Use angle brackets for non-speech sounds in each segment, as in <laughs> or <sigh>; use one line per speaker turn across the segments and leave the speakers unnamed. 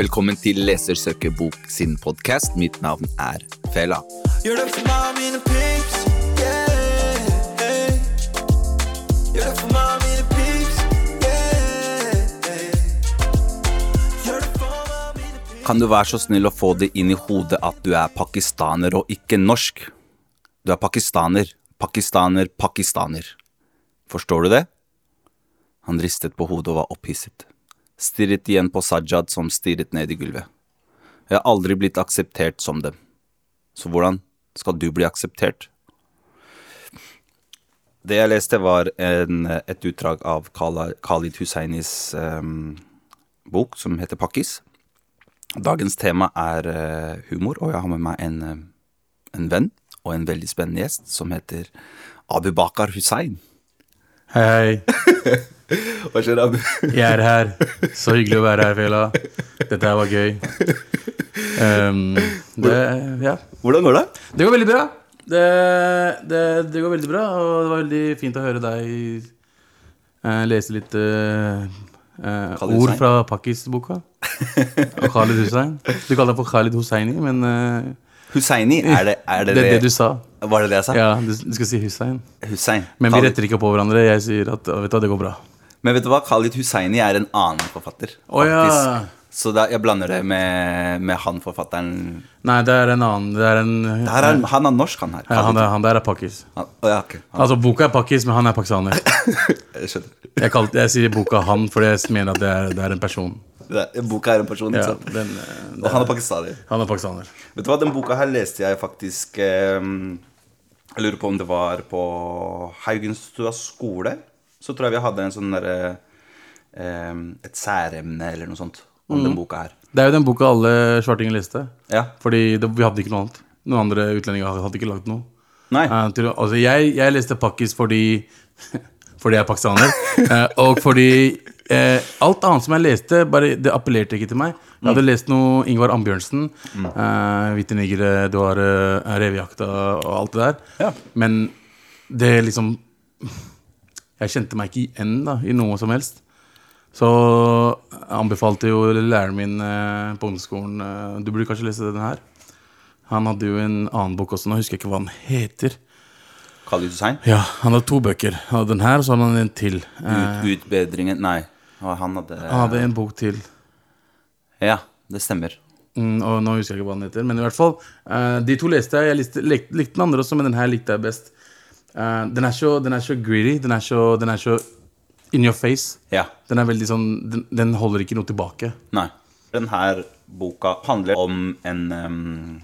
Velkommen til Leser søker bok sin podkast. Mitt navn er Fela.
Gjør det for meg og mine pips. Yeah, hey. Gjør det for meg og mine pips. Yeah, hey. Gjør det for meg og mine pips.
Kan du være så snill å få det inn i hodet at du er pakistaner og ikke norsk? Du er pakistaner, pakistaner, pakistaner. Forstår du det? Han ristet på hodet og var opphisset. Stirret igjen på Sajad som stirret ned i gulvet. Jeg har aldri blitt akseptert som dem. Så hvordan skal du bli akseptert? Det jeg leste, var en, et utdrag av Kala- Khalid Husseinis em, bok som heter Pakkis. Dagens tema er eh, humor, og jeg har med meg en, eh, en venn og en veldig spennende gjest som heter Abu Bakar Hussein.
Hei, hei.
Hva skjer, Abu?
Jeg er her. Så hyggelig å være her, Fela. Dette her var gøy. Ehm, det, ja.
Hvordan går det?
det går veldig bra. Det, det, det går veldig bra, og det var veldig fint å høre deg eh, lese litt eh, eh,
Khalid
ord
Hussein.
fra Pakkis-boka. Og Khalid Hussein. Du kaller ham for Khalid Husseini, men eh,
Husseini, er det er
det er det du sa.
Var det det jeg sa?
Ja, du, du skal si Hussein.
Hussein.
Men vi
Khalid-
retter ikke opp på hverandre. Jeg sier at vet du, hva, det går bra.
Men vet du hva? Khalid Husseini er en annen forfatter.
Å, ja.
faktisk. Så da, jeg blander det med, med han forfatteren
Nei, det er en annen. Det er en,
Det her er, Han er norsk, han her.
Ja, han, der, han der er pakkis.
Han- å, ja, ok. Han-
Altså, boka er pakkis, men han er pakistaner.
Jeg skjønner.
Jeg, kalte- jeg sier boka han, fordi jeg mener at det er, det er en person.
Det er- Boka er en person, ikke
Ja,
sant?
den, eh,
Og han er pakistaner.
han er pakistaner.
Vet du hva, den boka her leste jeg faktisk eh, Jeg lurer på om det var på Haugenstua skole. Så tror jeg vi hadde en sånn derre eh, Et særemne eller noe sånt om
Mhm.
den boka her.
Det er jo den boka alle svartinger leste.
Ja.
Fordi det, vi hadde ikke noe annet. Noen andre utlendinger hadde- hadde ikke lagd noe.
Nei.
Eh, til, altså, jeg, jeg leste pakkis fordi <laughs> Fordi jeg er pakistaner. eh, og fordi eh, alt annet som jeg leste, bare, det appellerte ikke til meg. Jeg hadde lest noe Ingvar Ambjørnsen, eh, 'Hvite nigere', du har eh, 'Revejakta' og alt det der.
Ja.
Men det liksom Jeg kjente meg ikke igjen da, i noe som helst. Så anbefalte jo læreren min eh, på ungdomsskolen eh, Du burde kanskje lese den her. Han hadde jo en annen bok også, nå husker jeg ikke hva den heter.
Khalid Hussein?
Ja, han hadde to bøker. Han hadde den her, og så hadde han en til. Eh,
Ut, utbedringen Nei. Og Han hadde
han hadde en bok til,
Ja, det stemmer.
mm, og nå husker jeg ikke hva den heter. Men i hvert fall, eh, de to leste jeg. Jeg likte, likte, likte den andre også, men den her likte jeg best. Eh, den, er så, den er så greedy. Den er så, den er så in your face.
Ja.
Den er veldig sånn Den, den holder ikke noe tilbake.
Nei. Den her boka handler om en, em,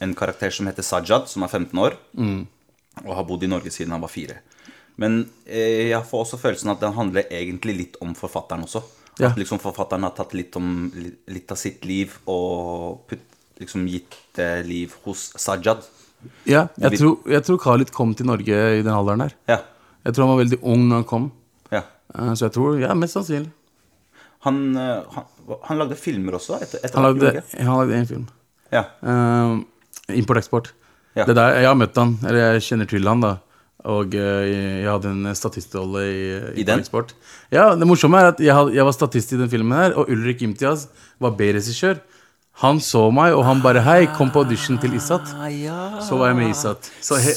en karakter som heter Sajad, som er 15 år.
Mm.
Og har bodd i Norge siden han var fire. Men eh, jeg får også følelsen at den handler egentlig litt om forfatteren også.
Ja.
At liksom forfatteren har tatt litt, om, li- litt av sitt liv og putt, liksom gitt eh, liv hos Sajad.
Ja,
Vi-
jeg tror, jeg tror Khalid kom til Norge i den alderen her.
Ja.
Jeg tror han var veldig ung når han kom.
ja.
Eh, så jeg tror Ja, mest sannsynlig.
Han, eh, han, han lagde filmer også? Etter, etter
Han
hvert,
lagde,
gjorde ikke?
han lagde en film.
Ja.
Eh, Import-eksport.
Ja.
Det der, Jeg har møtt han, eller jeg kjenner til han da. Og eh, jeg hadde en statistrolle i,
I den?
Import-eksport. Ja, Det morsomme er at jeg, had- jeg var statist i den filmen her, og Ulrik Imtiaz var B-regissør. Han så meg, og han bare 'Hei, kom på audition til Isat'. Så var jeg med Isat. Så, he,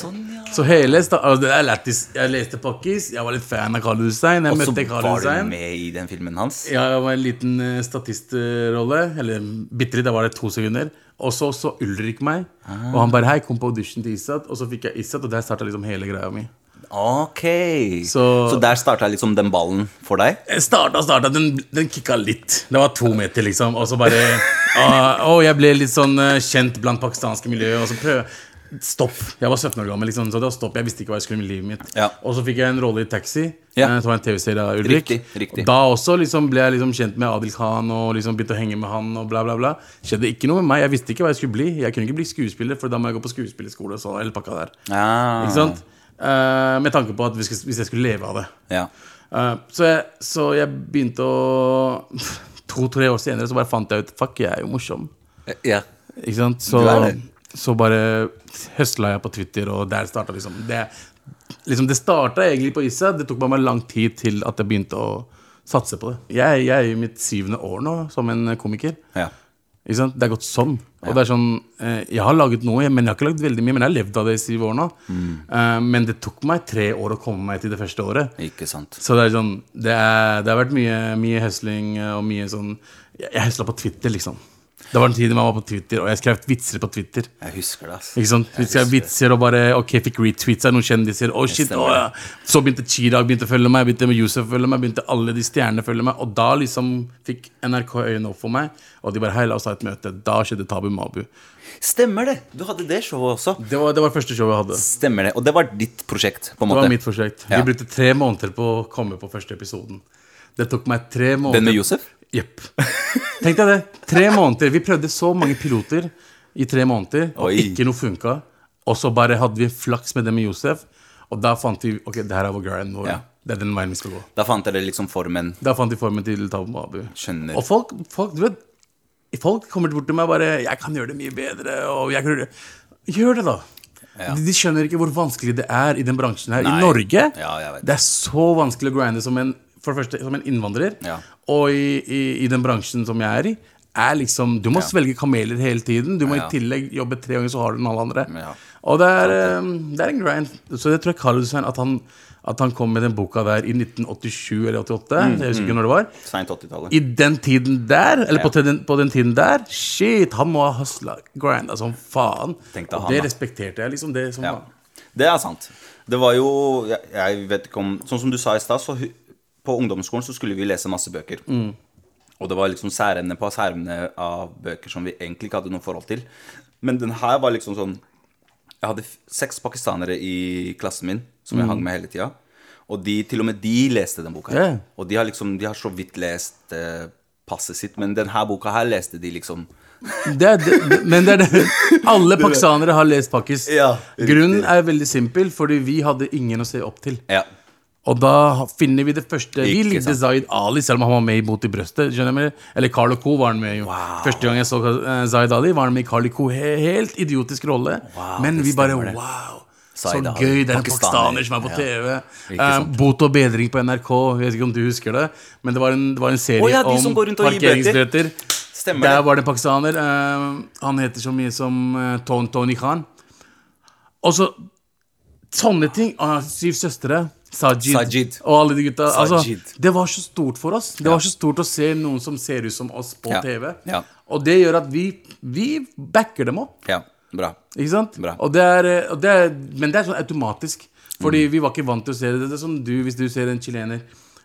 så hele sta- altså, det er lættis. Jeg leste Pakkis, jeg var litt fan av Karl Hussein. Jeg
Og så
møtte Karl
var du
Hussein.
med i den filmen hans?
Ja, jeg var en liten eh, statistrolle. Eller bitte litt, da var det to sekunder. Og så så Ulrik meg. Og han bare 'hei, kom på audition til Isat'. Og så fikk jeg Isat, og der starta liksom hele greia mi.
Ok. Så,
Så-
der starta liksom den ballen for deg?
Jeg Starta, starta, Eh, den, den kicka litt. Det var to meter, liksom. Og så bare
<laughs>
ah, Å, jeg ble litt sånn eh, kjent blant pakistanske miljøer. Og så prøv Stopp. Jeg var 17 år gammel, liksom, så det var stopp. Jeg visste ikke hva jeg skulle med livet mitt.
Ja.
Og så fikk jeg en rolle i Taxi.
Ja.
eh, Som var en TV-serie av Ulrik.
Riktig, riktig.
Og Da også liksom ble jeg liksom kjent med Adil Khan og liksom begynte å henge med han. og bla bla bla Skjedde ikke noe med meg. Jeg visste ikke hva jeg skulle bli. Jeg kunne ikke bli skuespiller, for da må jeg gå på skuespillerskole. og Så, hele pakka der
Ah.
Ikke sant? Eh, med tanke på at hvis, hvis jeg skulle leve av det.
Ja.
Eh, så, jeg, så jeg begynte å <laughs> To-tre år senere så bare fant jeg ut Fuck, jeg er jo morsom.
ja.
Ikke sant? Så,
Du er det.
så bare høsla jeg på Twitter, og der starta liksom Det, liksom det starta egentlig på Issa. Det tok bare meg lang tid til at jeg begynte å Satse på det. Jeg, jeg er i mitt syvende år nå som en komiker.
Ja.
Ikke sant? Det er gått sånn. Og det er sånn eh, Jeg har laget noe, men jeg har ikke laget veldig mye. Men jeg har levd av det i syv år nå.
Mm.
Eh, men det tok meg tre år å komme meg til det første året.
Ikke sant.
Så det er sånn Det, er, det har vært mye, mye høsling eh, og mye sånn Jeg, jeg høsla på Twitter, liksom. Det var en tid man var på Twitter, og jeg skrev vitser på Twitter.
Jeg husker det, ass.
Ikke sant? Vi skrev vitser og bare Ok, fikk retweets av noen kjendiser. Å, shit,
stemmer
å, ja. Så begynte Chirag begynte å følge meg, begynte med Yousef å følge meg, begynte alle de stjernene å følge meg. Og da liksom fikk NRK øynene opp for meg, og de bare Hei, la oss ha et møte. Da skjedde Tabu Mabu.
Stemmer det! Du hadde det showet også.
Det var det var første showet jeg hadde.
Stemmer det. Og det var ditt prosjekt, på en
Det
måte.
var mitt prosjekt.
Ja.
Vi brukte tre måneder på å komme på første episoden. Det tok meg tre måneder
Den med Josef?
Jepp. Tenk deg det. Tre måneder. Vi prøvde så mange piloter i tre måneder, og
Oi.
ikke noe funka. Og så bare hadde vi flaks med det med Josef, og da fant vi ok, det her er vår grind. Vår.
Ja.
Det er den veien vi skal gå.
Da fant dere liksom formen.
Da fant de formen til Tabu Mabu.
Skjønner.
Og folk, folk, du vet, folk kommer bort til meg bare 'Jeg kan gjøre det mye bedre', og jeg kan gjøre det Gjør det, da!
Ja.
De, de skjønner ikke hvor vanskelig det er i den bransjen her.
Nei.
I Norge
Ja, jeg vet.
det er så vanskelig å grinde som en, for det første, som en innvandrer.
Ja.
Og i, i, i den bransjen som jeg er i, er liksom Du må svelge kameler hele tiden. Du må
Ja.
i tillegg jobbe tre ganger så hardt enn alle andre.
Ja.
Og det er, eh, det er en grind. Så det tror jeg Carlsen at han, at han kom med den boka der i 1987 eller 88.
Mm,
jeg husker ikke når det var.
Seint 80-tallet.
I den tiden der, eller på,
Ja.
den, på den tiden der Shit, han må ha hustla, grinda som faen.
Tenk deg
Og
han,
det
da.
respekterte jeg, liksom. Det som
Ja.
var.
Det er sant. Det var jo jeg, jeg vet ikke om Sånn som du sa i stad, så hu- på ungdomsskolen så skulle vi lese masse bøker. Og det var liksom særemne på særemne av bøker som vi egentlig ikke hadde noe forhold til. Men den her var liksom sånn Jeg hadde f- seks pakistanere i klassen min som jeg hang med hele tida. Og de, til og med de leste den boka. her.
Ja.
Og de har liksom, de har så vidt lest eh, passet sitt, men den her boka her leste de liksom
det er, det, men det er det. <laughs> Alle pakistanere har lest Pakis.
Ja, riktig.
Grunnen er veldig simpel, fordi vi hadde ingen å se opp til.
Ja.
Og da finner vi det første Vi
Ikke
likte
sant.
Zaid Ali, selv om han var med i Bot i brøstet. skjønner jeg meg? Eller Carl Co. var han med, jo.
Wow.
Første gang jeg så eh, Zaid Ali, var han med i Carl Co. He helt idiotisk rolle.
Wow,
Men
det
vi bare
stemmer det.
wow! Så
Zaid Ali,
gøy! Det er en
pakistaner.
pakistaner som er på
Ja.
TV.
Ikke
Eh,
sant.
Bot og bedring på NRK, jeg vet ikke om du husker det, men det var en, det var en serie
Å ja, de som
om
går rundt og gir bøter.
parkeringsbøter.
Stemmer
Der
det.
var det en pakistaner. eh, han heter så mye som eh, Ton Tony Khan. Og så sånne ting. Og han har syv søstre. Sajid,
Sajid.
og alle de gutta.
Sajid.
Altså, det var så stort for oss. Det var så stort å se noen som ser ut som oss på
Ja.
TV.
Ja.
Og det gjør at vi, vi backer dem opp.
Ja, bra.
Ikke sant?
Bra.
Og det er, eh, og det er, men det er sånn automatisk.
Mm.
Fordi vi var ikke vant til å se det. Det er som du, hvis du ser en chilener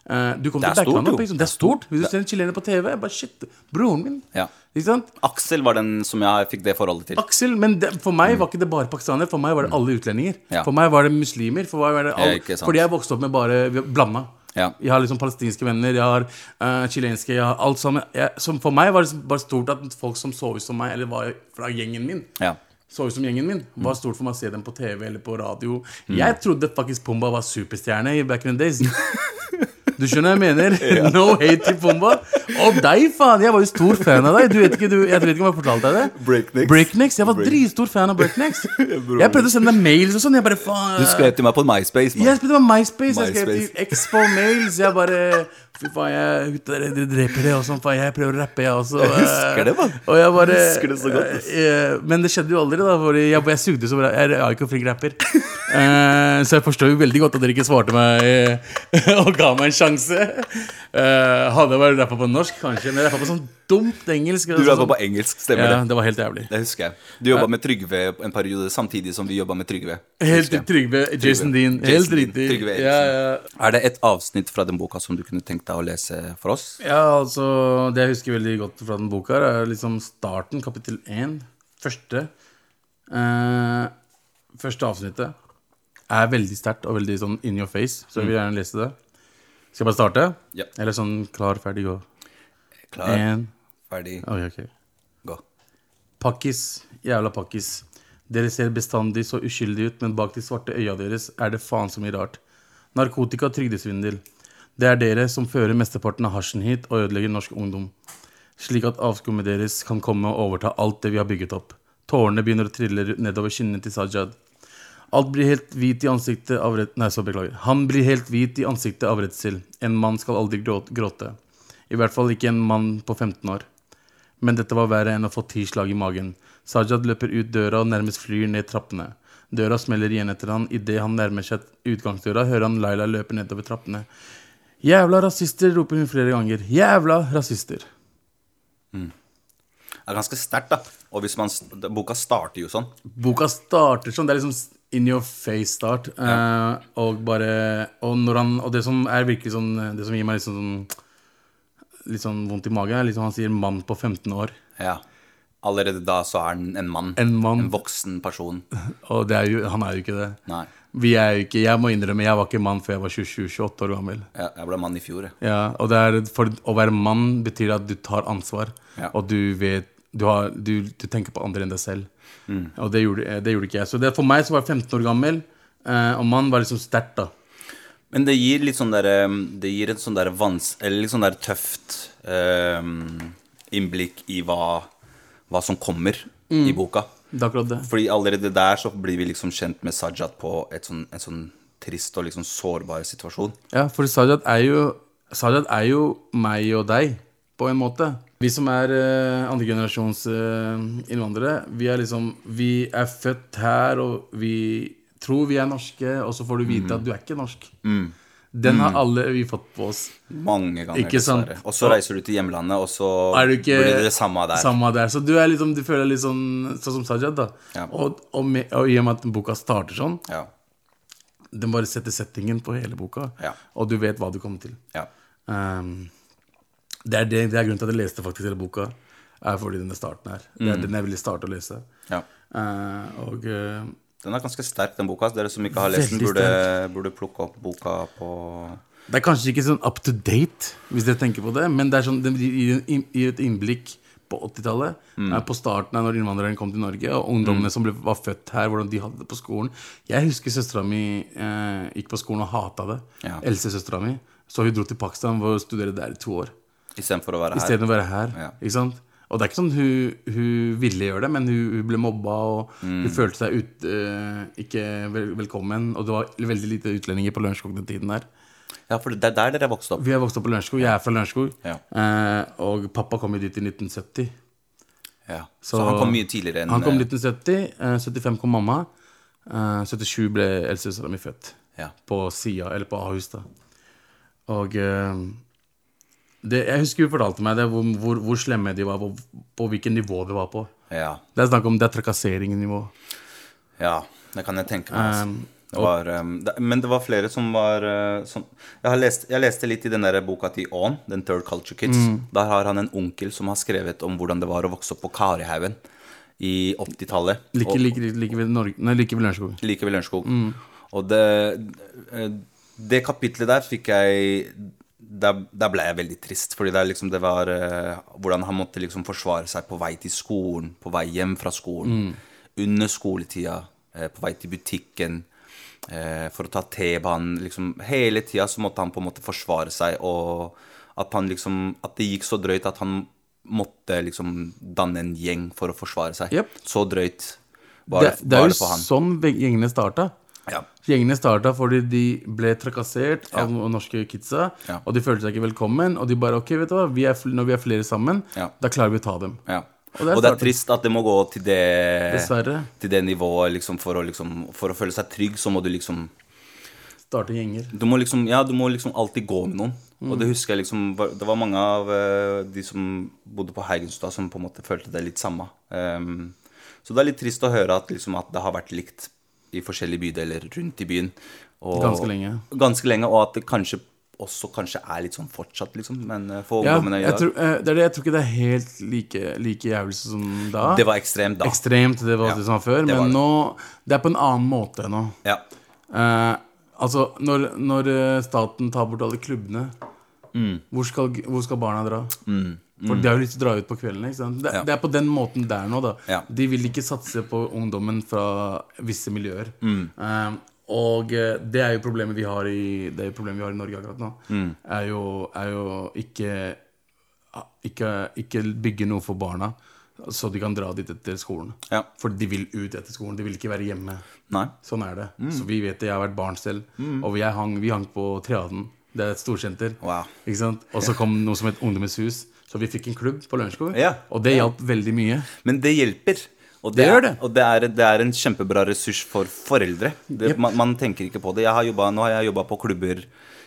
eh, Du kommer
Det er
til å backe
stort,
han opp.
jo.
Ikke sant? Det er stort. Hvis du ser en chilener på TV, bare shit, broren min.
Ja.
Ikke sant?
Aksel var den som jeg fikk det forholdet til. Mm.
Aksel, men det, for meg var ikke det bare pakistanere. For meg var det alle utlendinger.
Ja.
For meg var det muslimer. For meg var det all,
Ja, ikke sant.
fordi jeg vokste opp med bare blanda.
Ja.
Jeg har liksom palestinske venner, jeg har eh, chilenske, jeg har alt sammen. Jeg, som for meg var det bare stort at folk som så ut som meg, eller var fra gjengen min,
Ja.
så ut som gjengen min, var stort for meg å se dem på TV eller på radio. Jeg trodde faktisk Pumba var superstjerne i back in the days. Du skjønner hva jeg mener? No hate til Pumba. Og deg, faen! Jeg var jo stor fan av deg. Du vet ikke, du, jeg vet ikke om jeg fortalte deg det.
Breaknex.
Breaknex. Jeg var dritstor fan av Breaknex. Jeg prøvde å sende deg mails og sånn. Jeg bare faen
Du skrev til meg på MySpace. mann.
Jeg spurte om MySpace. Jeg skrev
MySpace.
til Expo Mails. Jeg bare Fy faen, jeg gutta, dere- dere dreper det og sånn. Faen, jeg prøver å rappe, jeg også. Jeg
husker det, mann.
Og jeg bare
Jeg husker det så godt, ass.
eh, Men det skjedde jo aldri, da. Fordi jeg, jeg sugde så bra. Jeg er jo ikke en flink rapper. Eh, så jeg forstår jo veldig godt at dere ikke svarte meg eh, <laughs> og ga meg en sjanse. Eh, hadde jeg bare rappa på norsk, kanskje. Men jeg rappa på sånn dumt engelsk.
Du
altså
jobba
sånn-
på engelsk, stemmer
ja,
det?
det var helt jævlig.
Det husker jeg. Du jobba med Trygve en periode samtidig som vi jobba med Trygve.
Helt
husker jeg.
Trygve Jason Dean.
Jason
Helt
Dean,
riktig.
Trygve Eriksen.
ja, ja.
Er det et avsnitt fra den boka som du kunne tenkt deg å lese for oss?
ja, altså Det jeg husker veldig godt fra den boka, her er liksom starten, kapittel én. Første. Eh, første avsnittet er veldig sterkt og veldig sånn in your face, så jeg vil gjerne lese det. Skal jeg bare starte?
Ja.
Eller sånn klar, ferdig, gå.
Klar,
En
ferdig,
Ok, ok.
gå.
Pakkis, jævla pakkis. Dere ser bestandig så uskyldige ut, men bak de svarte øya deres er det faen så mye rart. Narkotika og trygdesvindel. Det er dere som fører mesteparten av hasjen hit og ødelegger norsk ungdom. Slik at avskummet deres kan komme og overta alt det vi har bygget opp. Tårene begynner å trille nedover kinnene til Sajad. Alt blir helt hvit i ansiktet av rett... Nei, så beklager. Han blir helt hvit i ansiktet av redsel. En mann skal aldri gråt- gråte. I hvert fall ikke en mann på 15 år. Men dette var verre enn å få ti slag i magen. Sajad løper ut døra og nærmest flyr ned trappene. Døra smeller igjen etter han. Idet han nærmer seg utgangsdøra, hører han Laila løpe nedover trappene. Jævla rasister, roper hun flere ganger. Jævla rasister.
Det er ganske sterkt, da. Og hvis man, boka starter jo sånn.
Boka starter sånn. Det er liksom in your face-start. eh, og bare og, når han, og det som er virkelig sånn Det som gir meg litt sånn, litt sånn vondt i magen, er liksom han sier 'mann på 15 år'.
Ja. Allerede da så er han en mann.
En mann.
En voksen person.
Og det er jo, han er jo ikke det.
Nei.
Vi er jo ikke, jeg må innrømme, jeg var ikke mann før jeg var 27-28 år gammel.
Jeg, jeg ble mann i fjor, jeg.
Ja, og det er, for å være mann betyr at du tar ansvar,
Ja.
og du vet du, har, du, du tenker på andre enn deg selv. Og det gjorde, eh, det gjorde ikke jeg. Så det, for meg så var jeg 15 år gammel, eh, og mann var liksom sterkt, da.
Men det gir litt sånn derre Det gir et sånn derre vans... Eller litt sånn derre tøft eh, innblikk i hva, hva som kommer
Mm.
i boka.
Det er akkurat det.
Fordi allerede der så blir vi liksom kjent med Sajat på et sånn, en sånn trist og liksom sårbar situasjon.
Ja, for Sajad er jo Sajad er jo meg og deg, på en måte. Vi som er uh, andregenerasjons eh, innvandrere, vi er liksom Vi er født her, og vi tror vi er norske, og så får du vite at du er ikke norsk.
Mm.
Den har alle vi fått på oss.
Mange ganger.
Ikke sant?
dessverre. Og så reiser du til hjemlandet, og så
Er du ikke
blir det det samme der.
Samme der. Så du, er liksom, du føler litt sånn sånn som Sajad, da.
Ja.
Og, og, med, og i og med at boka starter sånn,
Ja,
den bare setter settingen på hele boka,
Ja.
og du vet hva du kommer til.
ja.
Ehm, det, er det, det er grunnen til at jeg leste faktisk hele boka. Er fordi denne starten her. Det er den jeg ville starte å lese.
ja.
Eh, og eh,
Den er ganske sterk, den boka. Dere som ikke har lest den,
Veldig
burde, burde plukke opp boka på
det er kanskje ikke sånn up to date, hvis dere tenker på det, men det er sånn, den gir, en inn- gir et innblikk på 80-tallet. eh, På starten av når innvandrerne kom til Norge, og ungdommene som ble, var født her, hvordan de hadde det på skolen. Jeg husker søstera mi eh, gikk på skolen og hata det.
Ja.
Eldstesøstera mi. Så hun dro til Pakistan for å studere der i to år.
Istedenfor å være her.
Istedenfor å være her.
Ja.
Ikke sant? Og det er ikke sånn hun, hun ville gjøre det, men hun, hun ble mobba, og
Mm.
hun følte seg ut, eh, ikke vel, velkommen. Og det var veldig lite utlendinger på Lørenskog den tiden her.
Ja, for det er der dere vokste opp.
Vi har vokst opp på Lørenskog. Jeg er fra Lørenskog.
Ja.
Eh, og pappa kom jo dit i 1970.
Ja. Så, han kom mye tidligere enn
Han kom i
eh,
1970. Eh, 75 kom mamma. Eh, 77 ble eldstesøstera mi født.
eh, Ja.
På Sia, eller på Ahus, da. Og eh, det, jeg husker hun fortalte meg det, hvor, hvor, hvor slemme de var, hvor, på hvilket nivå de var på.
ja.
Det er snakk om det er trakasseringnivå.
Ja, det kan jeg tenke meg. Altså. Det var, um, det, men det var flere som var uh, som, jeg, har lest, jeg leste litt i den der boka til Aan, den Third Culture Kids.
Mm.
Der har han en onkel som har skrevet om hvordan det var å vokse opp på Karihaugen i 80-tallet.
Like,
Og-
like, like, ved Norge, nei, like ved Lørenskog.
like ved Lørenskog.
Mm.
Og det, det kapitlet der fikk jeg der, der ble jeg veldig trist, fordi det, er liksom, det var eh, hvordan han måtte liksom forsvare seg på vei til skolen, på vei hjem fra skolen,
Mm.
under skoletida, eh, på vei til butikken, eh, for å ta T-banen. Liksom, hele tida så måtte han på en måte forsvare seg, og at, han liksom, at det gikk så drøyt at han måtte liksom danne en gjeng for å forsvare seg.
Jep.
Så drøyt var
Det,
det,
det er
var
jo
det for han.
sånn gjengene starta.
Ja.
Gjengene starta fordi de ble trakassert av no- norske kidsa.
Ja.
Og de følte seg ikke velkommen. Og de bare ok, vet du hva, vi er, fl- når vi er flere sammen,
Ja.
da klarer vi å ta dem.
Ja.
Og det er
Og det er
starten.
trist at det må gå til det,
Dessverre.
til det nivået liksom, for, å, liksom, for å føle seg trygg, så må du liksom
Starte gjenger.
Du må liksom, ja, du må liksom alltid gå med noen. Og det
Mm.
husker jeg liksom var- Det var mange av eh, de som bodde på Heigenstua, som på en måte følte det litt samme. Ehm, så det er litt trist å høre at, liksom, at det har vært likt i forskjellige bydeler rundt i byen. Og,
Ganske lenge.
Ganske lenge, og at det kanskje også kanskje er litt sånn fortsatt, liksom. Men eh, for
Ja,
ungdommene i
jeg
dag
tror, eh, det er det, jeg tror ikke det er helt like, like jævlig som da.
Det var ekstremt da.
ekstremt, det var
Ja,
det som var før.
det
Men
var det.
nå Det er på en annen måte nå.
Ja.
Eh, altså, når, når eh, staten tar bort alle klubbene,
Mm.
hvor, skal, hvor skal barna dra? For de har jo lyst til å dra ut på kveldene. Ikke sant? Det,
Ja.
det er på den måten der nå. da
Ja.
De vil ikke satse på ungdommen fra visse miljøer.
Mm.
Eh, og eh, det er jo problemet vi har i, det er jo problemet vi har i Norge akkurat nå.
Mm.
Er, ah, jo, er jo ikke ikke, ikke bygge noe for barna. Så de kan dra dit etter skolen.
Ja.
For de vil ut etter skolen. De vil ikke være hjemme.
Nei.
Sånn er det.
Mm.
Så vi vet det. Jeg har vært barn selv. Og jeg hang, vi hang på Triaden. Det er et storsenter.
Wow.
Ikke sant? Og så kom noe som het Ungdommens hus. Så vi fikk en klubb på Lørenskog.
Ja.
Og det hjalp veldig mye.
Men det hjelper. Og
Det
er-
gjør det.
Og det er, det er en kjempebra ressurs for foreldre. Det,
Jep.
man, man tenker ikke på det. Jeg har jobbet, nå har jeg jobba på klubber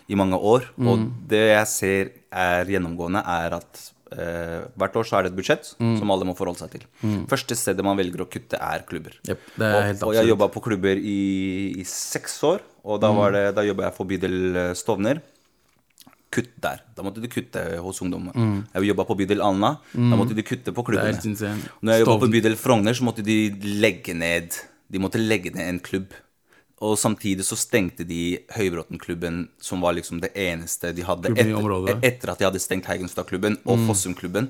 i mange år,
Mm.
og det jeg ser er gjennomgående, er at eh, hvert år så er det et budsjett
Mm.
som alle må forholde seg til. Første stedet man velger å kutte, er klubber.
Jep, det er
og,
helt
og jeg
absolutt. Mm.
jobba på klubber i, i seks år, og da, var det- da jobba jeg for bydel eh, Stovner. Kutt der. Da måtte du kutte hos ungdommen.
Mm.
Jeg jobba på bydel Alna. Da måtte de kutte på klubbene.
helt insane.
Når jeg jobba på
Stovner.
bydel Frogner, så måtte de legge ned De måtte legge ned en klubb. Og samtidig så stengte de Høybråtenklubben, som var liksom det eneste de hadde
Klubben i
etter,
området. Mm.
etter at de hadde stengt Heigenstadklubben og
<laughs>
Fossumklubben.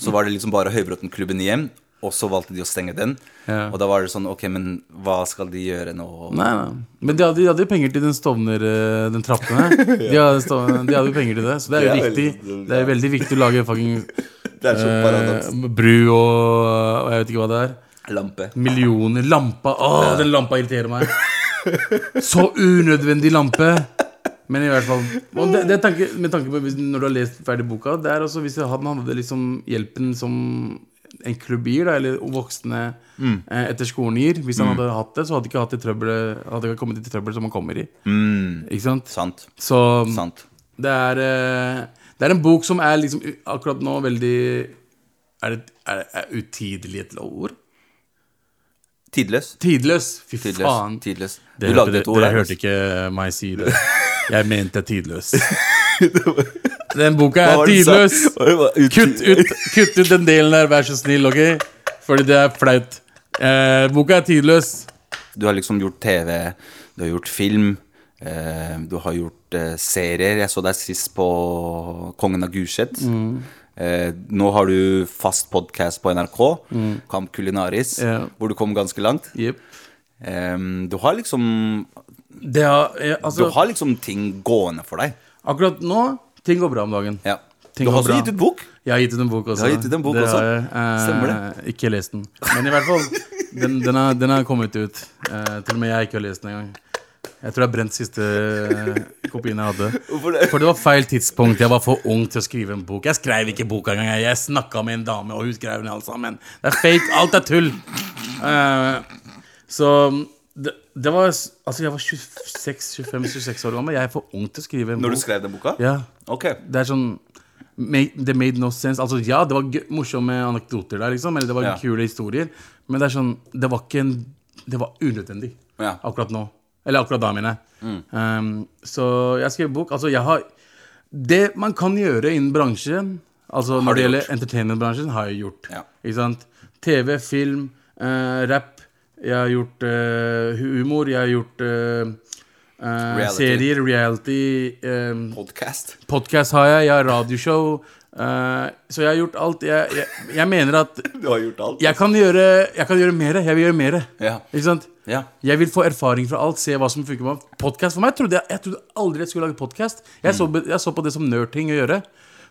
Så var det liksom bare Høybråtenklubben igjen, og så valgte de å stenge den.
Ja.
Og da var det sånn Ok, men hva skal de gjøre nå?
Nei, nei. Men de hadde, de hadde jo penger til den Stovner eh, Den trappen
<laughs>
her. De hadde, Stovner, de hadde jo penger til det, så det er
Det
jo
er
riktig.
veldig-
Det er jo veldig viktig å lage fucking
Det er så paradoks.
eh, bru og, og jeg vet ikke hva det er.
Lampe.
Millioner. Lampa. Åh, den lampa irriterer meg. Så unødvendig lampe. Men i hvert fall og det, det er tanke, Med tanke på hvis, når du har lest ferdig boka Det er også hvis han hadde liksom hjelpen som en klubb gir, da, eller voksne eh, etter skolen gir Hvis han hadde hatt det, så hadde ikke hatt det trøbbelet Hadde ikke kommet i trøbbel som han kommer i. Ikke sant?
Sant.
Så
Sant.
det er eh, Det er en bok som er liksom u- akkurat nå veldig Er det er, er utidelig et ord?
Tidløs.
Tidløs! Fy
Tidløs.
faen.
tidløs.
Dere,
du lagde
dere-
et ord
dere
her. altså.
hørte ikke meg si det. Jeg
<laughs>
mente tidløs. Den boka
Hva
er
var <laughs> det du sa?
tidløs!
Hva- ut-
Kutt
<laughs>
ut, kutt ut den delen der, vær så snill, ok? Fordi det er flaut. Eh, boka er tidløs.
Du har liksom gjort TV, du har gjort film, eh, du har gjort eh, serier. Jeg så deg sist på Kongen av Gulset.
Mm.
Eh, nå har du fast podkast på NRK, Kamp Kulinaris,
Mm. Ja.
hvor du kom ganske langt. Eh, du har liksom
Det har, eh,
Du
altså,
har liksom ting gående for deg.
Akkurat nå ting går bra om dagen.
Ja.
Ting
Du har
går bra.
også gitt ut bok.
Jeg har gitt ut en bok også.
Du har gitt ut en bok
det
også?
har jeg, eh,
Stemmer
Ikke lest den. Men i hvert fall, den, den, har, den har kommet ut. Eh, til og med jeg ikke har lest den engang. Jeg tror jeg har brent siste eh, kopien jeg hadde.
Hvorfor det?
For det var feil tidspunkt. Jeg var for ung til å skrive en bok. Jeg skrev ikke boka engang. jeg. Jeg snakka med en dame, og hun skrev den alt sammen. Det er fake. Alt er tull. Eh, så det, det var Altså, jeg var 25-26 år gammel. Jeg er for ung til å skrive en
Når du
bok.
skrev den boka?
Ja
Ok.
det er sånn make, Det made no sense. Altså, ja, det var gøy, morsomme anekdoter der, liksom, eller det var
Ja.
kule historier, men det er sånn Det var ikke en Det var unødvendig
Ja. Mm.
akkurat nå. Eller akkurat da, mener jeg. Um, så jeg skrev bok. Altså, jeg har Det man kan gjøre innen bransjen, altså
du
når det
gjort.
gjelder entertainmentbransjen, har jeg gjort.
Ja.
Ikke sant? TV, film, eh, rap. Jeg har gjort eh, humor. Jeg har gjort eh, eh,
Reality.
serier, reality eh,
Podcast. <laughs>
Podcast har jeg, jeg har radioshow. eh, så jeg har gjort alt. Jeg, jeg, jeg mener at
Du har gjort alt.
jeg kan gjøre, jeg kan gjøre mer. Jeg vil gjøre mer.
Ja.
Ikke sant?
Ja.
Jeg vil få erfaring fra alt, se hva som funker. med Podcast for meg trodde jeg, jeg trodde aldri jeg skulle lage podkast. Jeg,
Mm.
så på- jeg så på det som nerdting å gjøre.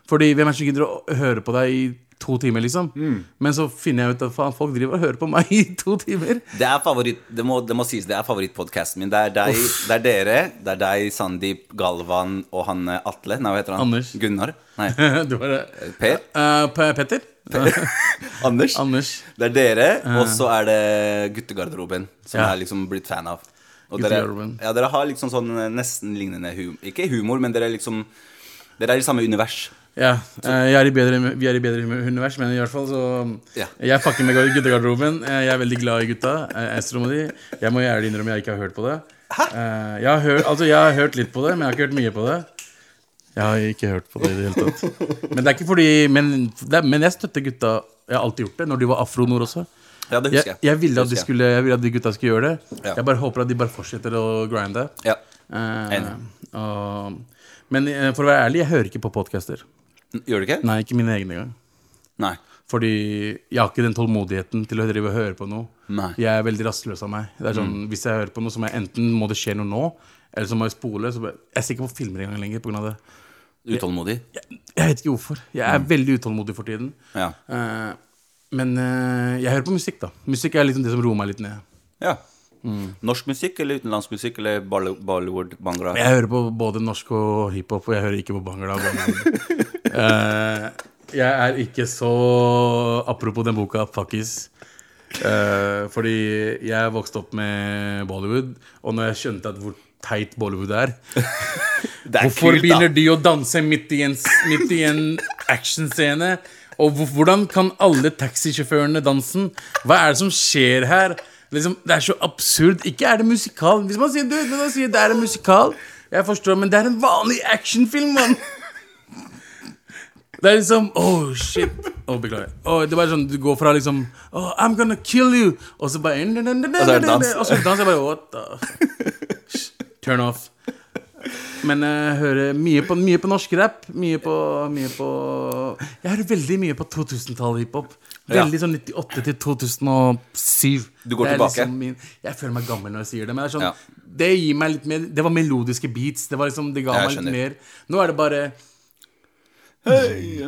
Fordi hvem er det som gidder å høre på deg i to timer, liksom?
Mm.
Men så finner jeg ut at faen, folk driver og hører på meg i
<laughs>
to timer.
Det er favoritt, det må, det må sies, det er favorittpodkasten min. Det er, deg, det er dere, det er deg, Sandeep, Galvan og han eh, Atle. Nei, hva heter han?
Anders.
Gunnar? Nei,
du bare
Per?
Eh, Pe- Petter?
Anders.
<laughs> Anders? Eh.
Det er dere, og så er det Guttegarderoben, som
Ja.
jeg er liksom blitt fan av. Og dere,
Guttegarderoben.
ja, dere har liksom sånn eh, nesten lignende humor. Ikke humor, men dere er liksom Dere er i samme univers.
Ja, eh, jeg er i bedre, vi er i bedre hum- univers, men i hvert fall så
Ja.
Jeg fucker med gar- guttegarderoben. Eh, Jeg er veldig glad i gutta. eh, Astro og de. Jeg må ærlig innrømme jeg ikke har hørt på det. Eh, Jeg har, hørt, altså, jeg har hørt litt på det, men jeg har ikke hørt mye på det. Jeg har ikke hørt på det i det hele
<laughs>
tatt. Men det er ikke fordi Men, det er, men jeg støtter gutta. Jeg har alltid gjort det, når de var afro-nord også.
Ja, det husker
Jeg,
jeg.
jeg, ville at
Husker
de
jeg.
skulle, jeg ville at de gutta skulle gjøre det.
Ja.
Jeg bare håper at de bare fortsetter å grinde.
Ja.
Eh,
Enig.
og, men eh, for å være ærlig, jeg hører ikke på podcaster.
Gjør du ikke?
Nei, ikke mine egne engang.
Nei.
Fordi jeg har ikke den tålmodigheten til å drive og høre på noe.
Nei. Mm.
Jeg er veldig rastløs av meg. Det er sånn, Hvis jeg hører på noe, så må jeg enten må det skje noe nå, eller så må jeg spole. Så bare, jeg ser ikke på filmer engang lenger pga. det.
Utålmodig?
Jeg vet ikke hvorfor. Jeg er veldig utålmodig for tiden.
Mm. Ja.
Eh, Men eh, jeg hører på musikk, da. Musikk er liksom det som roer meg litt ned.
Ja.
Mm.
Norsk musikk eller utenlandsk musikk eller Bolly- Bollywood, Bangla?
Jeg hører på både norsk og hiphop, og jeg hører ikke på bangla. og Bollywood. Eh, jeg er ikke så Apropos den boka, fuckis. Eh, fordi jeg vokste opp med Bollywood, og når jeg skjønte at hvor teit Bollywood er
Det er
Hvorfor
kult, da.
begynner de å danse midt i en, s- midt i en actionscene? Og hvor- hvordan kan alle taxisjåførene dansen? Hva er det som skjer her? Liksom, det er så absurd. Ikke er det musikal. Hvis man sier, du, når man sier det er en musikal, jeg forstår, men det er en vanlig actionfilm, mann! Det er liksom Oh, shit. Å, beklager. Å, det er bare sånn, Du går fra liksom oh, I'm gonna kill you, og så bare Og
så er det dans.
Og så er det dans. Jeg bare What the Turn off. Men jeg hører mye på, mye på norsk rap. Mye på, mye på Jeg hører veldig mye på 2000-tallet hiphop. Veldig sånn 98 til 2007.
Du går
Det er
tilbake?
Liksom min, jeg føler meg gammel når jeg sier det, men det er sånn
Ja.
Det gir meg litt mer Det var melodiske beats. Det var liksom Det ga
Ja,
meg
jeg
litt mer Nå er det bare Det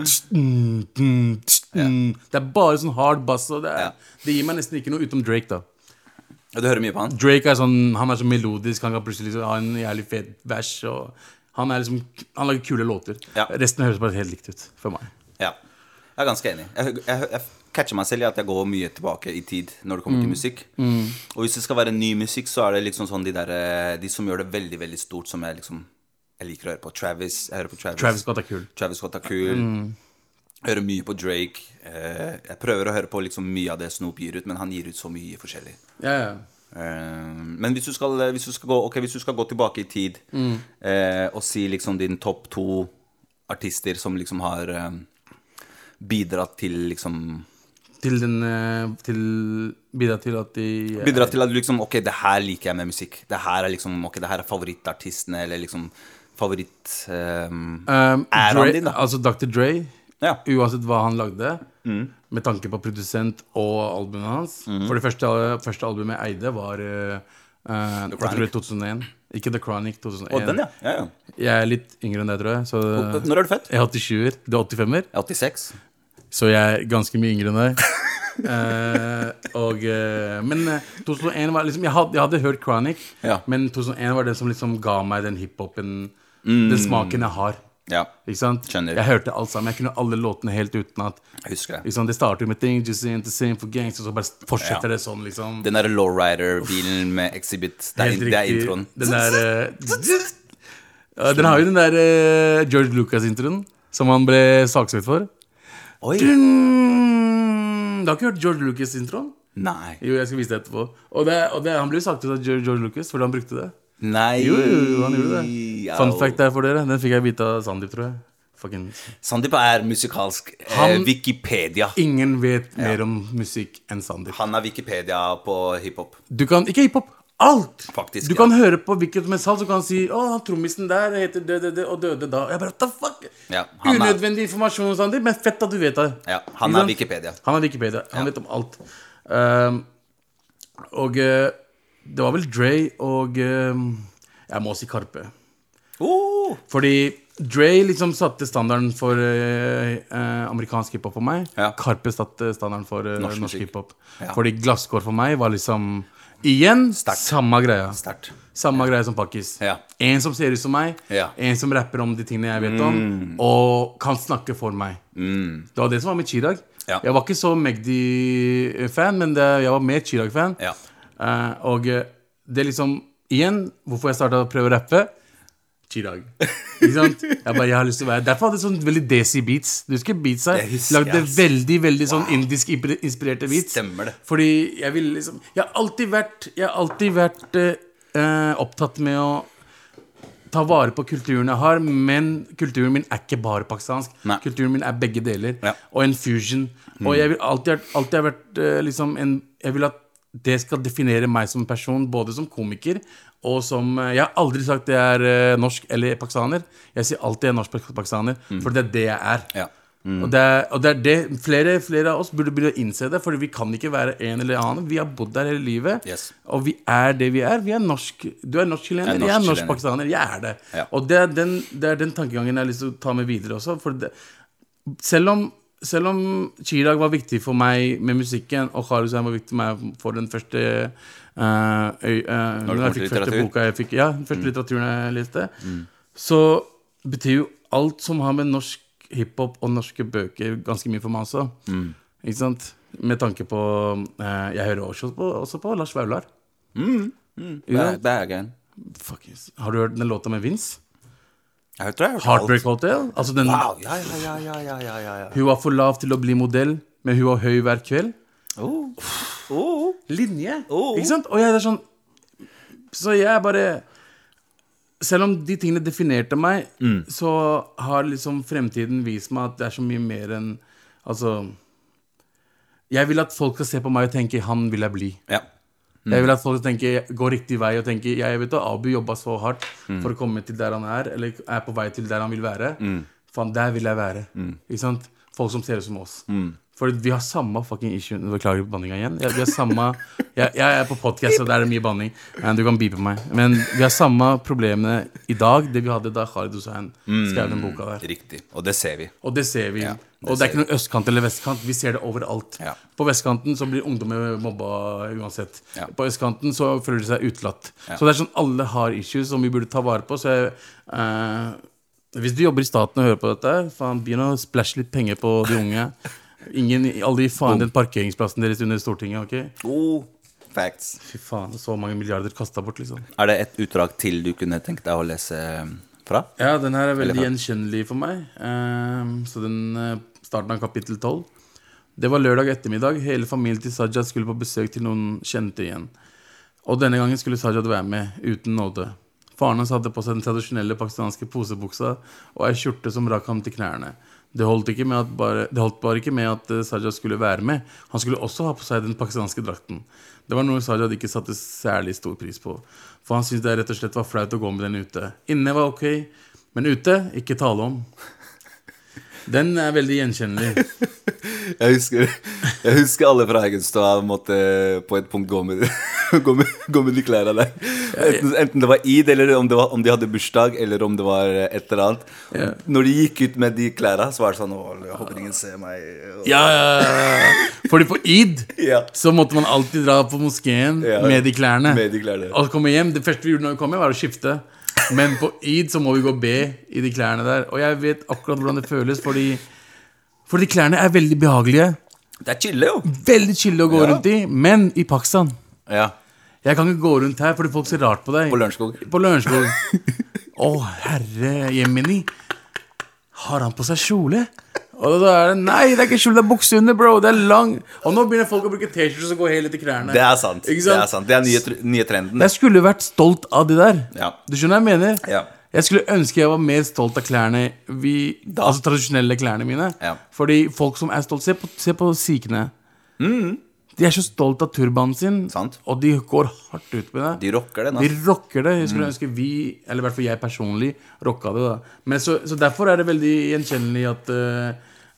er bare sånn hard bass, og det, er,
Ja.
det gir meg nesten ikke noe utenom Drake, da.
Ja, Du hører mye på han?
Drake er sånn, han er så melodisk, han kan plutselig liksom ha en jævlig fet vers. Og han, er liksom, han lager kule låter.
Ja.
Resten høres bare helt likt ut for meg.
Ja. Jeg er ganske enig. Jeg, jeg, jeg catcher meg selv i at jeg går mye tilbake i tid når det kommer
Mm.
til musikk. Og hvis det skal være ny musikk, så er det liksom sånn de der eh, De som gjør det veldig, veldig stort, som jeg liksom Jeg liker å høre på. Travis. Jeg hører på Travis.
Travis Scott er kul. Mm.
Travis Scott er kul. Hører mye på Drake. Eh, jeg prøver å høre på liksom mye av det Snoop gir ut, men han gir ut så mye forskjellig.
Ja, ja.
Eh, men hvis du, skal, hvis, du skal gå, ok, hvis du skal gå tilbake i tid
Mm.
eh, og si liksom din topp to artister som liksom har eh, bidratt til liksom
Til den eh, til, Bidra til at de eh,
Bidratt til at du liksom Ok, det her liker jeg med musikk. Det her er liksom Ok, det her er favorittartistene, eller liksom favoritt eh,
um,
Æren
Dre,
din, da.
Altså Dr. Dre,
Ja.
uansett hva han lagde,
Mm.
med tanke på produsent og albumet hans For det første, første albumet jeg eide, var eh, eh, jeg tror det er 2001. Ikke The Chronic 2001.
Og den, ja. ja, ja.
Jeg er litt yngre enn deg, tror jeg. Så
Når er du født?
jeg er 87-er. Du er 85-er?
Jeg er 86.
Så jeg er ganske mye yngre enn deg. Eh, og, eh, men eh, 2001 var liksom Jeg hadde, jeg hadde hørt Chronic,
Ja.
men 2001 var det som liksom ga meg den hiphopen Den smaken jeg har.
Ja.
Ikke sant?
Mm. Skjønner.
Jeg hørte alt sammen. Jeg kunne alle låtene helt utenat.
Jeg husker det.
Liksom, det starter med Thing, just in the same for gangs, og så bare
Ja.
fortsetter det sånn, liksom.
Den derre Lowrider-bilen med Exhibit, det er,
Helt
det er
riktig.
introen.
Den der eh, ja, Den har jo den der eh, George Lucas-introen som han ble saksøkt for.
Oi!
Dun! Du har ikke hørt George Lucas-introen?
Nei.
Jo, jeg skal vise det etterpå. Og, det, og det, han ble jo sagt ut av George, George Lucas fordi han brukte det.
Nei.
Jo, jo, jo, han gjorde det. Fun
Au.
fact der for dere. Den fikk jeg vite av Sandeep, tror jeg. Fucking.
Sandeep er musikalsk eh,
Han-
Wikipedia.
Ingen vet mer om musikk enn Sandeep.
Han er Wikipedia på hiphop.
Du kan ikke hiphop. Alt!
Faktisk,
du
ja.
kan høre på hvilket som helst salg, så kan han si Å, han trommisen der heter det, det, det, og døde da. Jeg bare, what the fuck?
Ja, han er-
Unødvendig informasjon, Sandeep, men fett at du vet det.
Ja, han
Ikke
er
sant?
Wikipedia.
Han er Wikipedia. Han vet om alt. Ehm, og eh, det var vel Dre og ehm, Jeg må si Karpe.
Oh,
Fordi Dre liksom satte standarden for eh, eh, amerikansk hiphop for meg.
Ja.
Karpe satte standarden for eh,
Norsk
norsk,
musikk.
hiphop.
Ja.
Fordi glasskår for meg var liksom Igjen
Sterkt.
samme greia.
Sterkt.
Samme greie som pakkis.
Ja.
En som ser ut som meg,
Ja. Mm.
en som rapper om de tingene jeg vet om, og kan snakke for meg. Det var det som var med Chirag.
Ja.
Jeg var ikke så Magdi-fan, men det, jeg var mer Chirag-fan.
Ja.
Eh, og eh, det er liksom Igjen, hvorfor jeg starta å prøve å rappe. Chirag. Ikke sant? Jeg bare, jeg har lyst til å være Derfor hadde jeg sånn veldig desi beats. Du husker beats her?
Jeg husker,
Lagde
ass.
veldig veldig sånn indisk-inspirerte beats.
Stemmer det.
Fordi jeg ville liksom Jeg har alltid vært Jeg har alltid vært eh, eh, opptatt med å ta vare på kulturen jeg har, men kulturen min er ikke bare pakistansk.
Nei.
Kulturen min er begge deler,
Ja. Mm.
og en fusion. Og jeg vil alltid, ha- alltid ha vært eh, liksom en Jeg vil at det skal definere meg som person, både som komiker og som eh, Jeg har aldri sagt jeg er eh, norsk eller pakistaner. Jeg sier alltid jeg er norsk-pakistaner, for det er det jeg er.
Mm. Ja.
Og, det er, og det er det flere, flere av oss burde begynne å innse det, for vi kan ikke være en eller annen. Vi har bodd der hele livet,
Yes.
og vi er det vi er. Vi er norsk. Du er norsk-chilener,
Jeg er
jeg er
norsk-chilener.
norsk-pakistaner. Jeg er det.
Ja.
Og det er, den, det er den tankegangen jeg har lyst til å ta med videre også. For det, selv om selv om Chirag var viktig for meg med musikken, og Kari Hussein var viktig for meg for den første eh, øy, eh, Når
kommer
jeg
til
fikk første
litteratur. Mm.
boka jeg fikk, ja, den første litteraturen jeg leste, så betyr jo alt som har med norsk hiphop og norske bøker ganske mye for meg også.
Mm.
Ikke sant? Med tanke på eh, Jeg hører også på, også på Lars Vaular.
Mm. Ba- Bagen.
Fuck yes. Har du hørt den låta med Vince?
Jeg hørte det. jeg hørte alt.
Heartbreak Hotel? Altså den
Wow, ja, ja, ja, ja, ja, ja, ja, ja.
Hun var for lav til å bli modell, men hun var høy hver kveld.
Oh. Oh.
linje.
Oh.
Ikke sant? Og jeg er sånn Så jeg bare Selv om de tingene definerte meg, så har liksom fremtiden vist meg at det er så mye mer enn Altså Jeg vil at folk skal se på meg og tenke 'han vil jeg bli'.
Ja.
Jeg vil at folk tenker, går riktig vei og tenker Jeg vet at Abu jobba så hardt for å komme til der han er, eller er på vei til der han vil være. Faen, der vil jeg være. Ikke sant? Folk som ser ut som oss. For vi har samme fucking issue Beklager banninga igjen. Ja, vi har samme <laughs> jeg, jeg er på podkast, og der er det mye banning. Men Du kan beepe meg. Men vi har samme problemene i dag, det vi hadde da Khalid Hussein skrev den boka der.
Riktig. Og det ser vi.
Og det ser vi.
Ja, det
og det er
ser
ikke noe østkant eller vestkant. Vi ser det overalt.
Ja.
På vestkanten så blir ungdommer mobba uansett.
Ja.
På østkanten så føler de seg utelatt. Så det er sånn alle har issues som vi burde ta vare på. Så jeg, eh, hvis du jobber i staten og hører på dette, faen, begynn å splæsje litt penger på de unge. Ingen, alle gir faen i den parkeringsplassen deres under Stortinget. ok?
Oh. Facts.
Fy faen, så mange milliarder kasta bort, liksom.
Er det et utdrag til du kunne tenkt deg å lese eh, fra?
Ja, den her er veldig
Eller-
gjenkjennelig for meg. Ehm, så den eh, starten av kapittel 12. Det var lørdag ettermiddag. Hele familien til Sajad skulle på besøk til noen kjente igjen. Og denne gangen skulle Sajad være med, uten nåde. Faren hans hadde på seg den tradisjonelle pakistanske posebuksa og ei skjorte som rakk ham til knærne. Det holdt, ikke med at bare, det holdt bare ikke med at eh, Sajad skulle være med, han skulle også ha på seg den pakistanske drakten. Det var noe Sajad ikke satte særlig stor pris på, for han syntes det rett og slett var flaut å gå med den ute. Inne var ok, men ute ikke tale om. Den er veldig gjenkjennelig.
Jeg husker, jeg husker alle fra Haugenstua måtte på et punkt gå med, <laughs> gå med, gå med de klærne der. Enten, enten det var id, eller om, det var, om de hadde bursdag, eller om det var et eller annet.
Ja.
Når de gikk ut med de klærne, så var det sånn Å, jeg håper ingen ser meg.
Ja, ja, ja, ja. Fordi på id
<laughs> Ja.
så måtte man alltid dra på moskeen
Ja,
med de klærne.
med de klærne.
Og komme hjem. Det første vi gjorde når vi kom hjem, var å skifte. Men på id så må vi gå og be i de klærne der. Og jeg vet akkurat hvordan det føles, fordi, for de klærne er veldig behagelige.
Det er chille, jo.
Veldig chille å gå
Ja.
rundt i, men i Pakistan
Ja.
Jeg kan ikke gå rundt her fordi folk ser rart på deg.
På Lørenskog.
På Lørenskog. Å, herre Jemini. Har han på seg kjole? Og da er det Nei, det er ikke kjole, det er bukse under, bro. Det er lang. Og nå begynner folk å bruke T-skjorter som går helt etter knærne.
Det er sant.
Ikke
Det er sant. Det er nye, tr- nye trenden.
Jeg skulle vært stolt av de der.
Ja.
Du skjønner hva jeg mener?
Ja.
Jeg skulle ønske jeg var mer stolt av klærne vi, Altså tradisjonelle klærne mine.
Ja.
Fordi folk som er stolt Se på, se på sikhene. De er så stolt av turbanen sin,
Mm. Sant.
og de går hardt ut med det.
De rocker den,
De
altså.
rocker det. Jeg skulle ønske vi, eller i hvert fall jeg personlig, rocka det. da Men så, så derfor er det veldig gjenkjennelig at eh,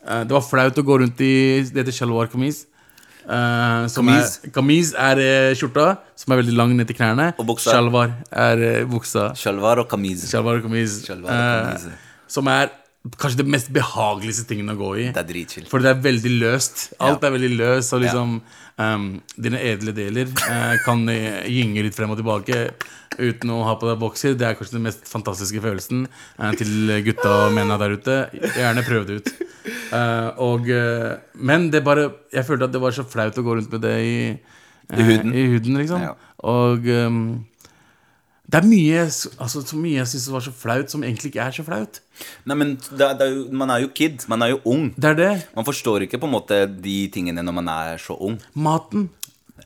eh, det var flaut å gå rundt i Det heter shalwar kamis. eh, som
Kamis?
Er, kamis er eh, skjorta, som er veldig lang ned til knærne.
Og buksa.
Shalwar er eh, buksa.
Shalwar og kamis.
Shalwar kamis.
Shalwar og kamis.
eh, som er kanskje det mest behageligste tingen å gå i.
Det er dritchill.
For det er veldig løst. Alt er veldig løst, og liksom ehm, Dine edle deler eh, kan eh, gynge litt frem og tilbake uten å ha på deg bokser. Det er kanskje den mest fantastiske følelsen eh, til gutta og mennene der ute. Gjerne prøv det ut. Eh, og, eh, men det bare Jeg følte at det var så flaut å gå rundt med det i, eh,
I huden.
I huden liksom.
Ja.
Og ehm, det er mye, s- altså, så mye jeg syns var så flaut, som egentlig ikke er så flaut.
Nei, men det er, det er jo, man er jo kid. Man er jo ung.
Det er det.
Man forstår ikke på en måte de tingene når man er så ung.
Maten.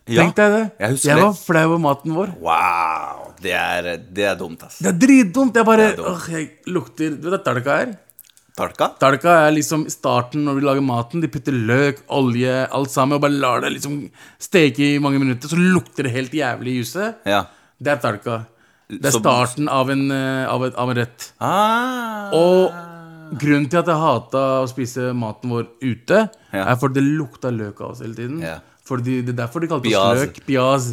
Ja,
Tenk deg det.
jeg husker
jeg
det.
var flau over maten vår.
Wow! Det er, det er dumt, ass.
Det er dritdumt. Jeg bare
Det er dumt.
åh, jeg lukter Du vet hva talka er?
Talka?
Talka er liksom starten når du lager maten. De putter løk, olje, alt sammen, og bare lar det liksom steke i mange minutter. Så lukter det helt jævlig i huset.
Ja.
Det er talka. Det er
Så-
starten av en, eh, av, et, av en rett.
Ah.
Og grunnen til at jeg hata å spise maten vår ute,
Ja.
er fordi det lukta løk av oss hele tiden.
Ja. <laughs>
Fordi Det er derfor de kalte
Piaz.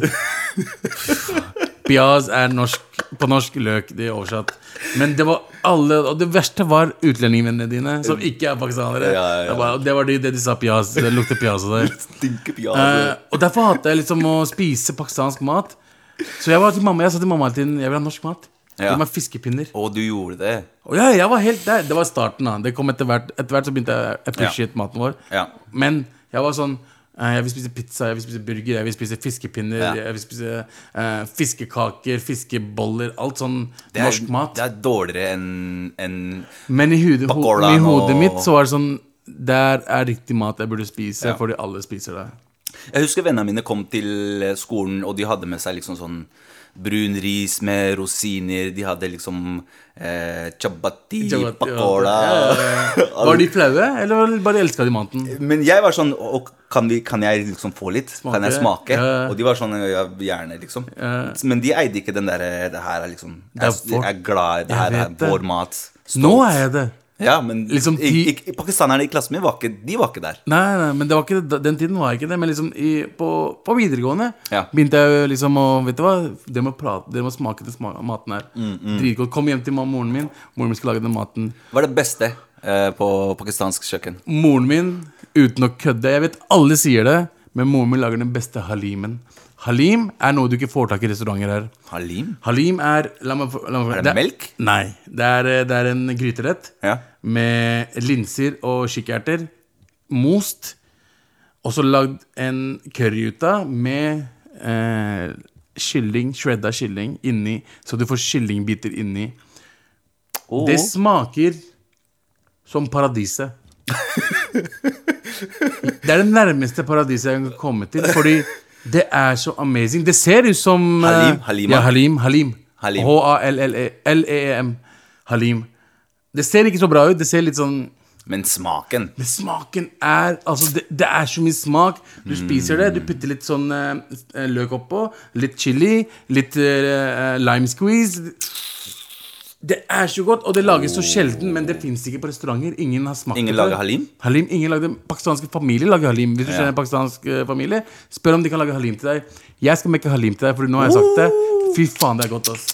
oss løk. Piaz. Piaz er norsk på norsk, løk. De er oversatt. Men det var alle Og det verste var utlendingvennene dine, som ikke er pakistanere.
Ja, ja, ja.
Det, var, det var de, det de sa pias. Det lukter pias der.
<laughs> Stinker
Eh, og derfor hater jeg liksom å spise pakistansk mat. Så jeg var til mamma Jeg sa til mamma hele tiden jeg vil ha norsk mat.
Ja.
Gi meg fiskepinner.
Og du gjorde det.
Og ja, jeg var helt der. Det var starten. da Det kom Etter hvert Etter hvert så begynte jeg å appreciate maten vår.
Ja.
Men jeg var sånn eh, Jeg vil spise pizza, jeg vil spise burger, jeg vil spise fiskepinner,
Ja.
jeg vil spise eh, fiskekaker, fiskeboller. Alt sånn
det er,
norsk mat.
Det er dårligere enn enn-
Men i, hudet, ho
Pakora
i
og-
hodet mitt så var det sånn Der er riktig mat jeg burde spise,
Ja.
fordi alle spiser det.
Jeg husker vennene mine kom til eh, skolen, og de hadde med seg liksom sånn brun ris med rosiner. De hadde liksom eh, chabati,
Jawad-
pakora
Ja, ja,
<laughs>
ja. Var de flaue, eller bare elska de maten?
Men jeg var sånn og kan, vi, kan jeg liksom få litt? Kan jeg smake?
Smake? Ja.
Og de var sånn ja, Gjerne, liksom.
Ja.
Men de eide ikke den derre Det her er liksom
er
Jeg, jeg
vårt-
er glad i det
Jeg
her er
vet det.
vår mat. Stolt.
Nå er jeg det.
Ja, men
Liksom
i,
ti-
i, pakistanerne i klassen min var ikke, de var ikke der.
Nei, nei, men det var ikke, det- den tiden var jeg ikke det. Men liksom i, på, på videregående
Ja.
begynte jeg jo liksom å Vet du hva, dere må, prate, dere må smake den sma- maten her.
Mm,
Dritgodt. Kom hjem til ma- moren min. Moren min skulle lage den maten.
Hva er det beste eh, på pakistansk kjøkken?
Moren min, uten å kødde Jeg vet alle sier det, men moren min lager den beste halimen. Halim er noe du ikke får tak i restauranter her.
Halim?
Halim er la meg, få- la meg, få-
Er det melk?
Nei. Det er, eh, det er en gryterett
Ja.
med linser og kikkerter. Most. Og så lagd en curry ut av med eh, kylling, shredda kylling inni, så du får kyllingbiter inni.
Åh.
Det smaker som
<laughs>
paradiset. Det er det nærmeste paradiset jeg kan komme til, fordi det er så amazing. Det ser ut som eh,
Halim, Halima.
Ja, Halim. Halim.
Halim.
E, H-a-l-l-e-m. Halim. Det ser ikke så bra ut. Det ser litt sånn
Men smaken
Men smaken er Altså, det, det er så mye smak. Du spiser det, du
Mm.
putter litt sånn eh, løk oppå, litt chili, litt eh, lime squeeze. Det er så godt, og det lages så sjelden, men det fins ikke på restauranter. Ingen har smakt
Ingen
det før.
lager halim?
Halim, ingen lagde Pakistanske familier lager halim. Hvis du kjenner en pakistansk eh, familie, spør om de kan lage halim til deg. Jeg skal mekke halim til deg, for nå har jeg sagt det. Fy faen, det er godt, ass.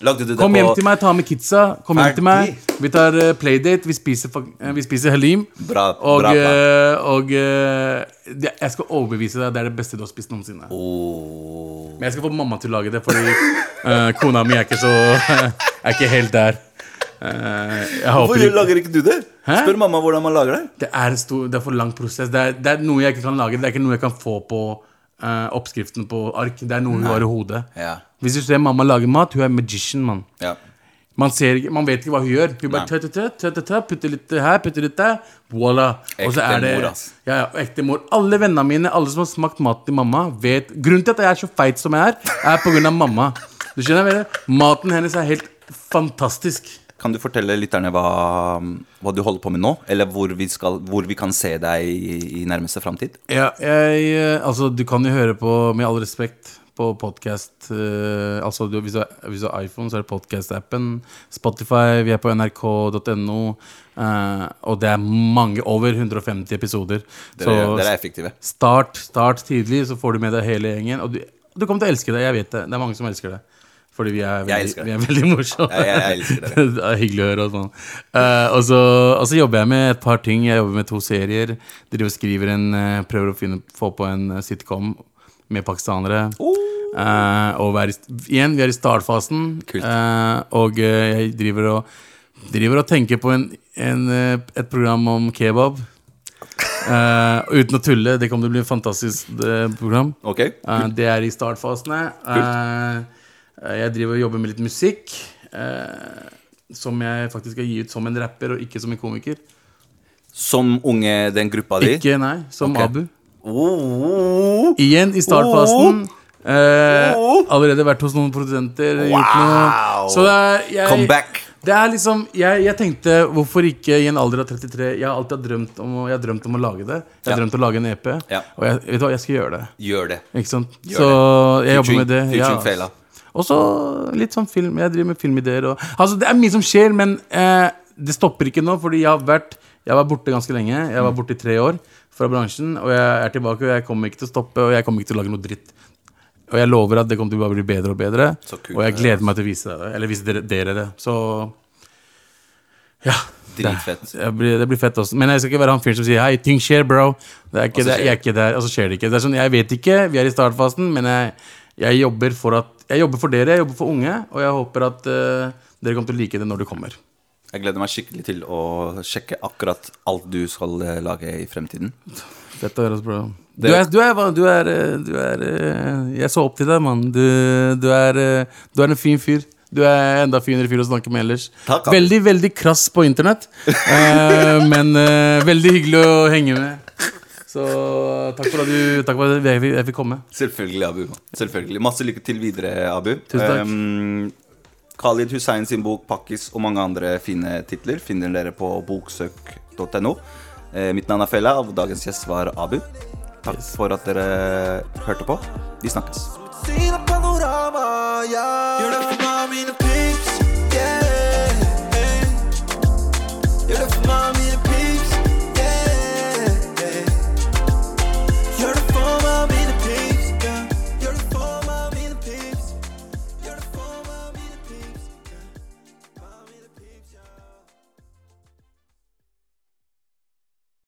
Lagde du det
Kom
på
hjem til meg, ta med kidsa. Kom hjem til meg. Vi tar eh, playdate, vi spiser, fak- eh, vi spiser halim.
Bra-
og
bra plan.
eh, og eh, det- jeg skal overbevise deg, det er det beste du har spist noensinne.
Oh. Åh.
Men jeg skal få mamma til å lage det, fordi eh, kona mi er ikke så <laughs> Er ikke helt der. Eh, jeg håper
Hvorfor
ikke
lager ikke du det?
Hæ?
Spør mamma hvordan man lager det.
det er, en stor, det er for lang prosess. Det er, det er noe jeg ikke kan lage. Det er ikke noe jeg kan få på eh, oppskriften på ark. Det er noe hun har i hodet.
Ja.
Hvis du ser mamma lage mat, hun er magician, mann.
Ja.
Man, ser, ikke- man vet ikke hva hun gjør. Hun
Nei.
bare tøt, tøt, tøt, tøt, tøt, putter litt her, putter litt der. Voila. Og så
Ekte
er det
mor, ass.
ja, ja, ekte mor. Alle vennene mine, alle som har smakt maten til mamma, vet Grunnen til at jeg er så feit som jeg er, er på grunn av mamma. Du skjønner, hva jeg mener? Maten hennes er helt fantastisk.
Kan du fortelle lytterne hva, hva du holder på med nå? Eller hvor vi, skal, hvor vi kan se deg i, i nærmeste framtid?
Ja, jeg, eh, altså du kan jo høre på, med all respekt, på podcast eh, Altså du, hvis, du, har- hvis du har iPhone, så er det podcast-appen Spotify, vi er på nrk.no eh, Og det er mange, over 150 episoder
Dere,
Så
dere er effektive.
start, start tidlig, så får du med deg hele gjengen Og du, du kommer til å elske det, jeg vet det Det er mange som elsker det fordi vi
Jeg
er veldig,
elsker det.
vi er veldig morsomme
Jeg- jeg- jeg elsker dere.
<laughs> det er hyggelig å høre. Og, sånn. Eh, og, så, og så jobber jeg med et par ting. Jeg jobber med to serier. Driver og skriver en eh, Prøver å finne, få på en eh, sitcom med pakistanere. Eh, og er i, st- igjen, vi er i startfasen.
Kult.
Eh, og eh, jeg driver og, driver og tenker på en, en, eh, et program om kebab. Eh, og uten å tulle, det kommer til å bli et fantastisk eh, program.
Ok?
Eh, det er i startfasene. Eh, jeg driver og jobber med litt musikk. eh, som jeg faktisk skal gi ut som en rapper, og ikke som en komiker.
Som unge, den gruppa di? Oh.
Ikke, nei, som
Ok.
Abu.
Åh.
Igjen i startfasen. Eh, allerede vært hos noen produsenter. Gjort
Wow.
noe. Så det er jeg,
Come back.
Det er liksom, jeg, jeg tenkte hvorfor ikke i en alder av 33 Jeg har alltid drømt om, å- jeg har drømt om å lage det. Jeg har
Ja.
drømt om å lage en EP.
Ja.
Og jeg, vet du hva, jeg skal gjøre det.
Gjør det.
Ikke sant?
Gjør
så
det.
jeg jobber med det.
Featuring- featuring Fela.
Og så litt sånn film. Jeg driver med filmideer og Altså, det er mye som skjer, men eh, det stopper ikke nå, fordi jeg har vært Jeg var borte ganske lenge. Jeg
Mm.
var borte i tre år fra bransjen, og jeg er tilbake, og jeg kommer ikke til å stoppe, og jeg kommer ikke til å lage noe dritt. Og jeg lover at det kommer til å bare bli bedre og bedre.
Så kult
Og jeg
det er,
gleder meg til å vise deg det. Eller vise dere, dere det. Så ja.
Dritfett.
Det blir, det blir fett også. Men jeg skal ikke være han fyren som sier 'hei, ting skjer, bro'. Det er ikke,
Og så
det,
skjer
jeg er ikke der, og så skjer det ikke. Det er sånn, Jeg vet ikke, vi er i startfasen, men jeg, jeg jobber for at Jeg jobber for dere, jeg jobber for unge, og jeg håper at eh, dere kommer til å like det når det kommer.
Jeg gleder meg skikkelig til å sjekke akkurat alt du skal eh, lage i fremtiden.
Dette høres bra du
Det-
er, du, er, du, er, eh, du er eh, Jeg så opp til deg, mann. Du, du, er, eh, du er en fin fyr. Du er enda finere fyr å snakke med ellers.
Takk, ass.
veldig veldig krass på
<laughs>
internett, eh, men eh, veldig hyggelig å henge med. Så takk for at, du, takk for at jeg, fikk- jeg fikk komme.
Selvfølgelig, Abu. Selvfølgelig. Masse lykke til videre, Abu.
Tusen takk.
Ehm, Khalid Hussein sin bok 'Pakkis' og mange andre fine titler finner dere på boksøk.no. Eh, mitt navn er Fella, og dagens gjest var Abu. Takk for at dere hørte på. Vi snakkes.
Sina panorama, ja Gjør det for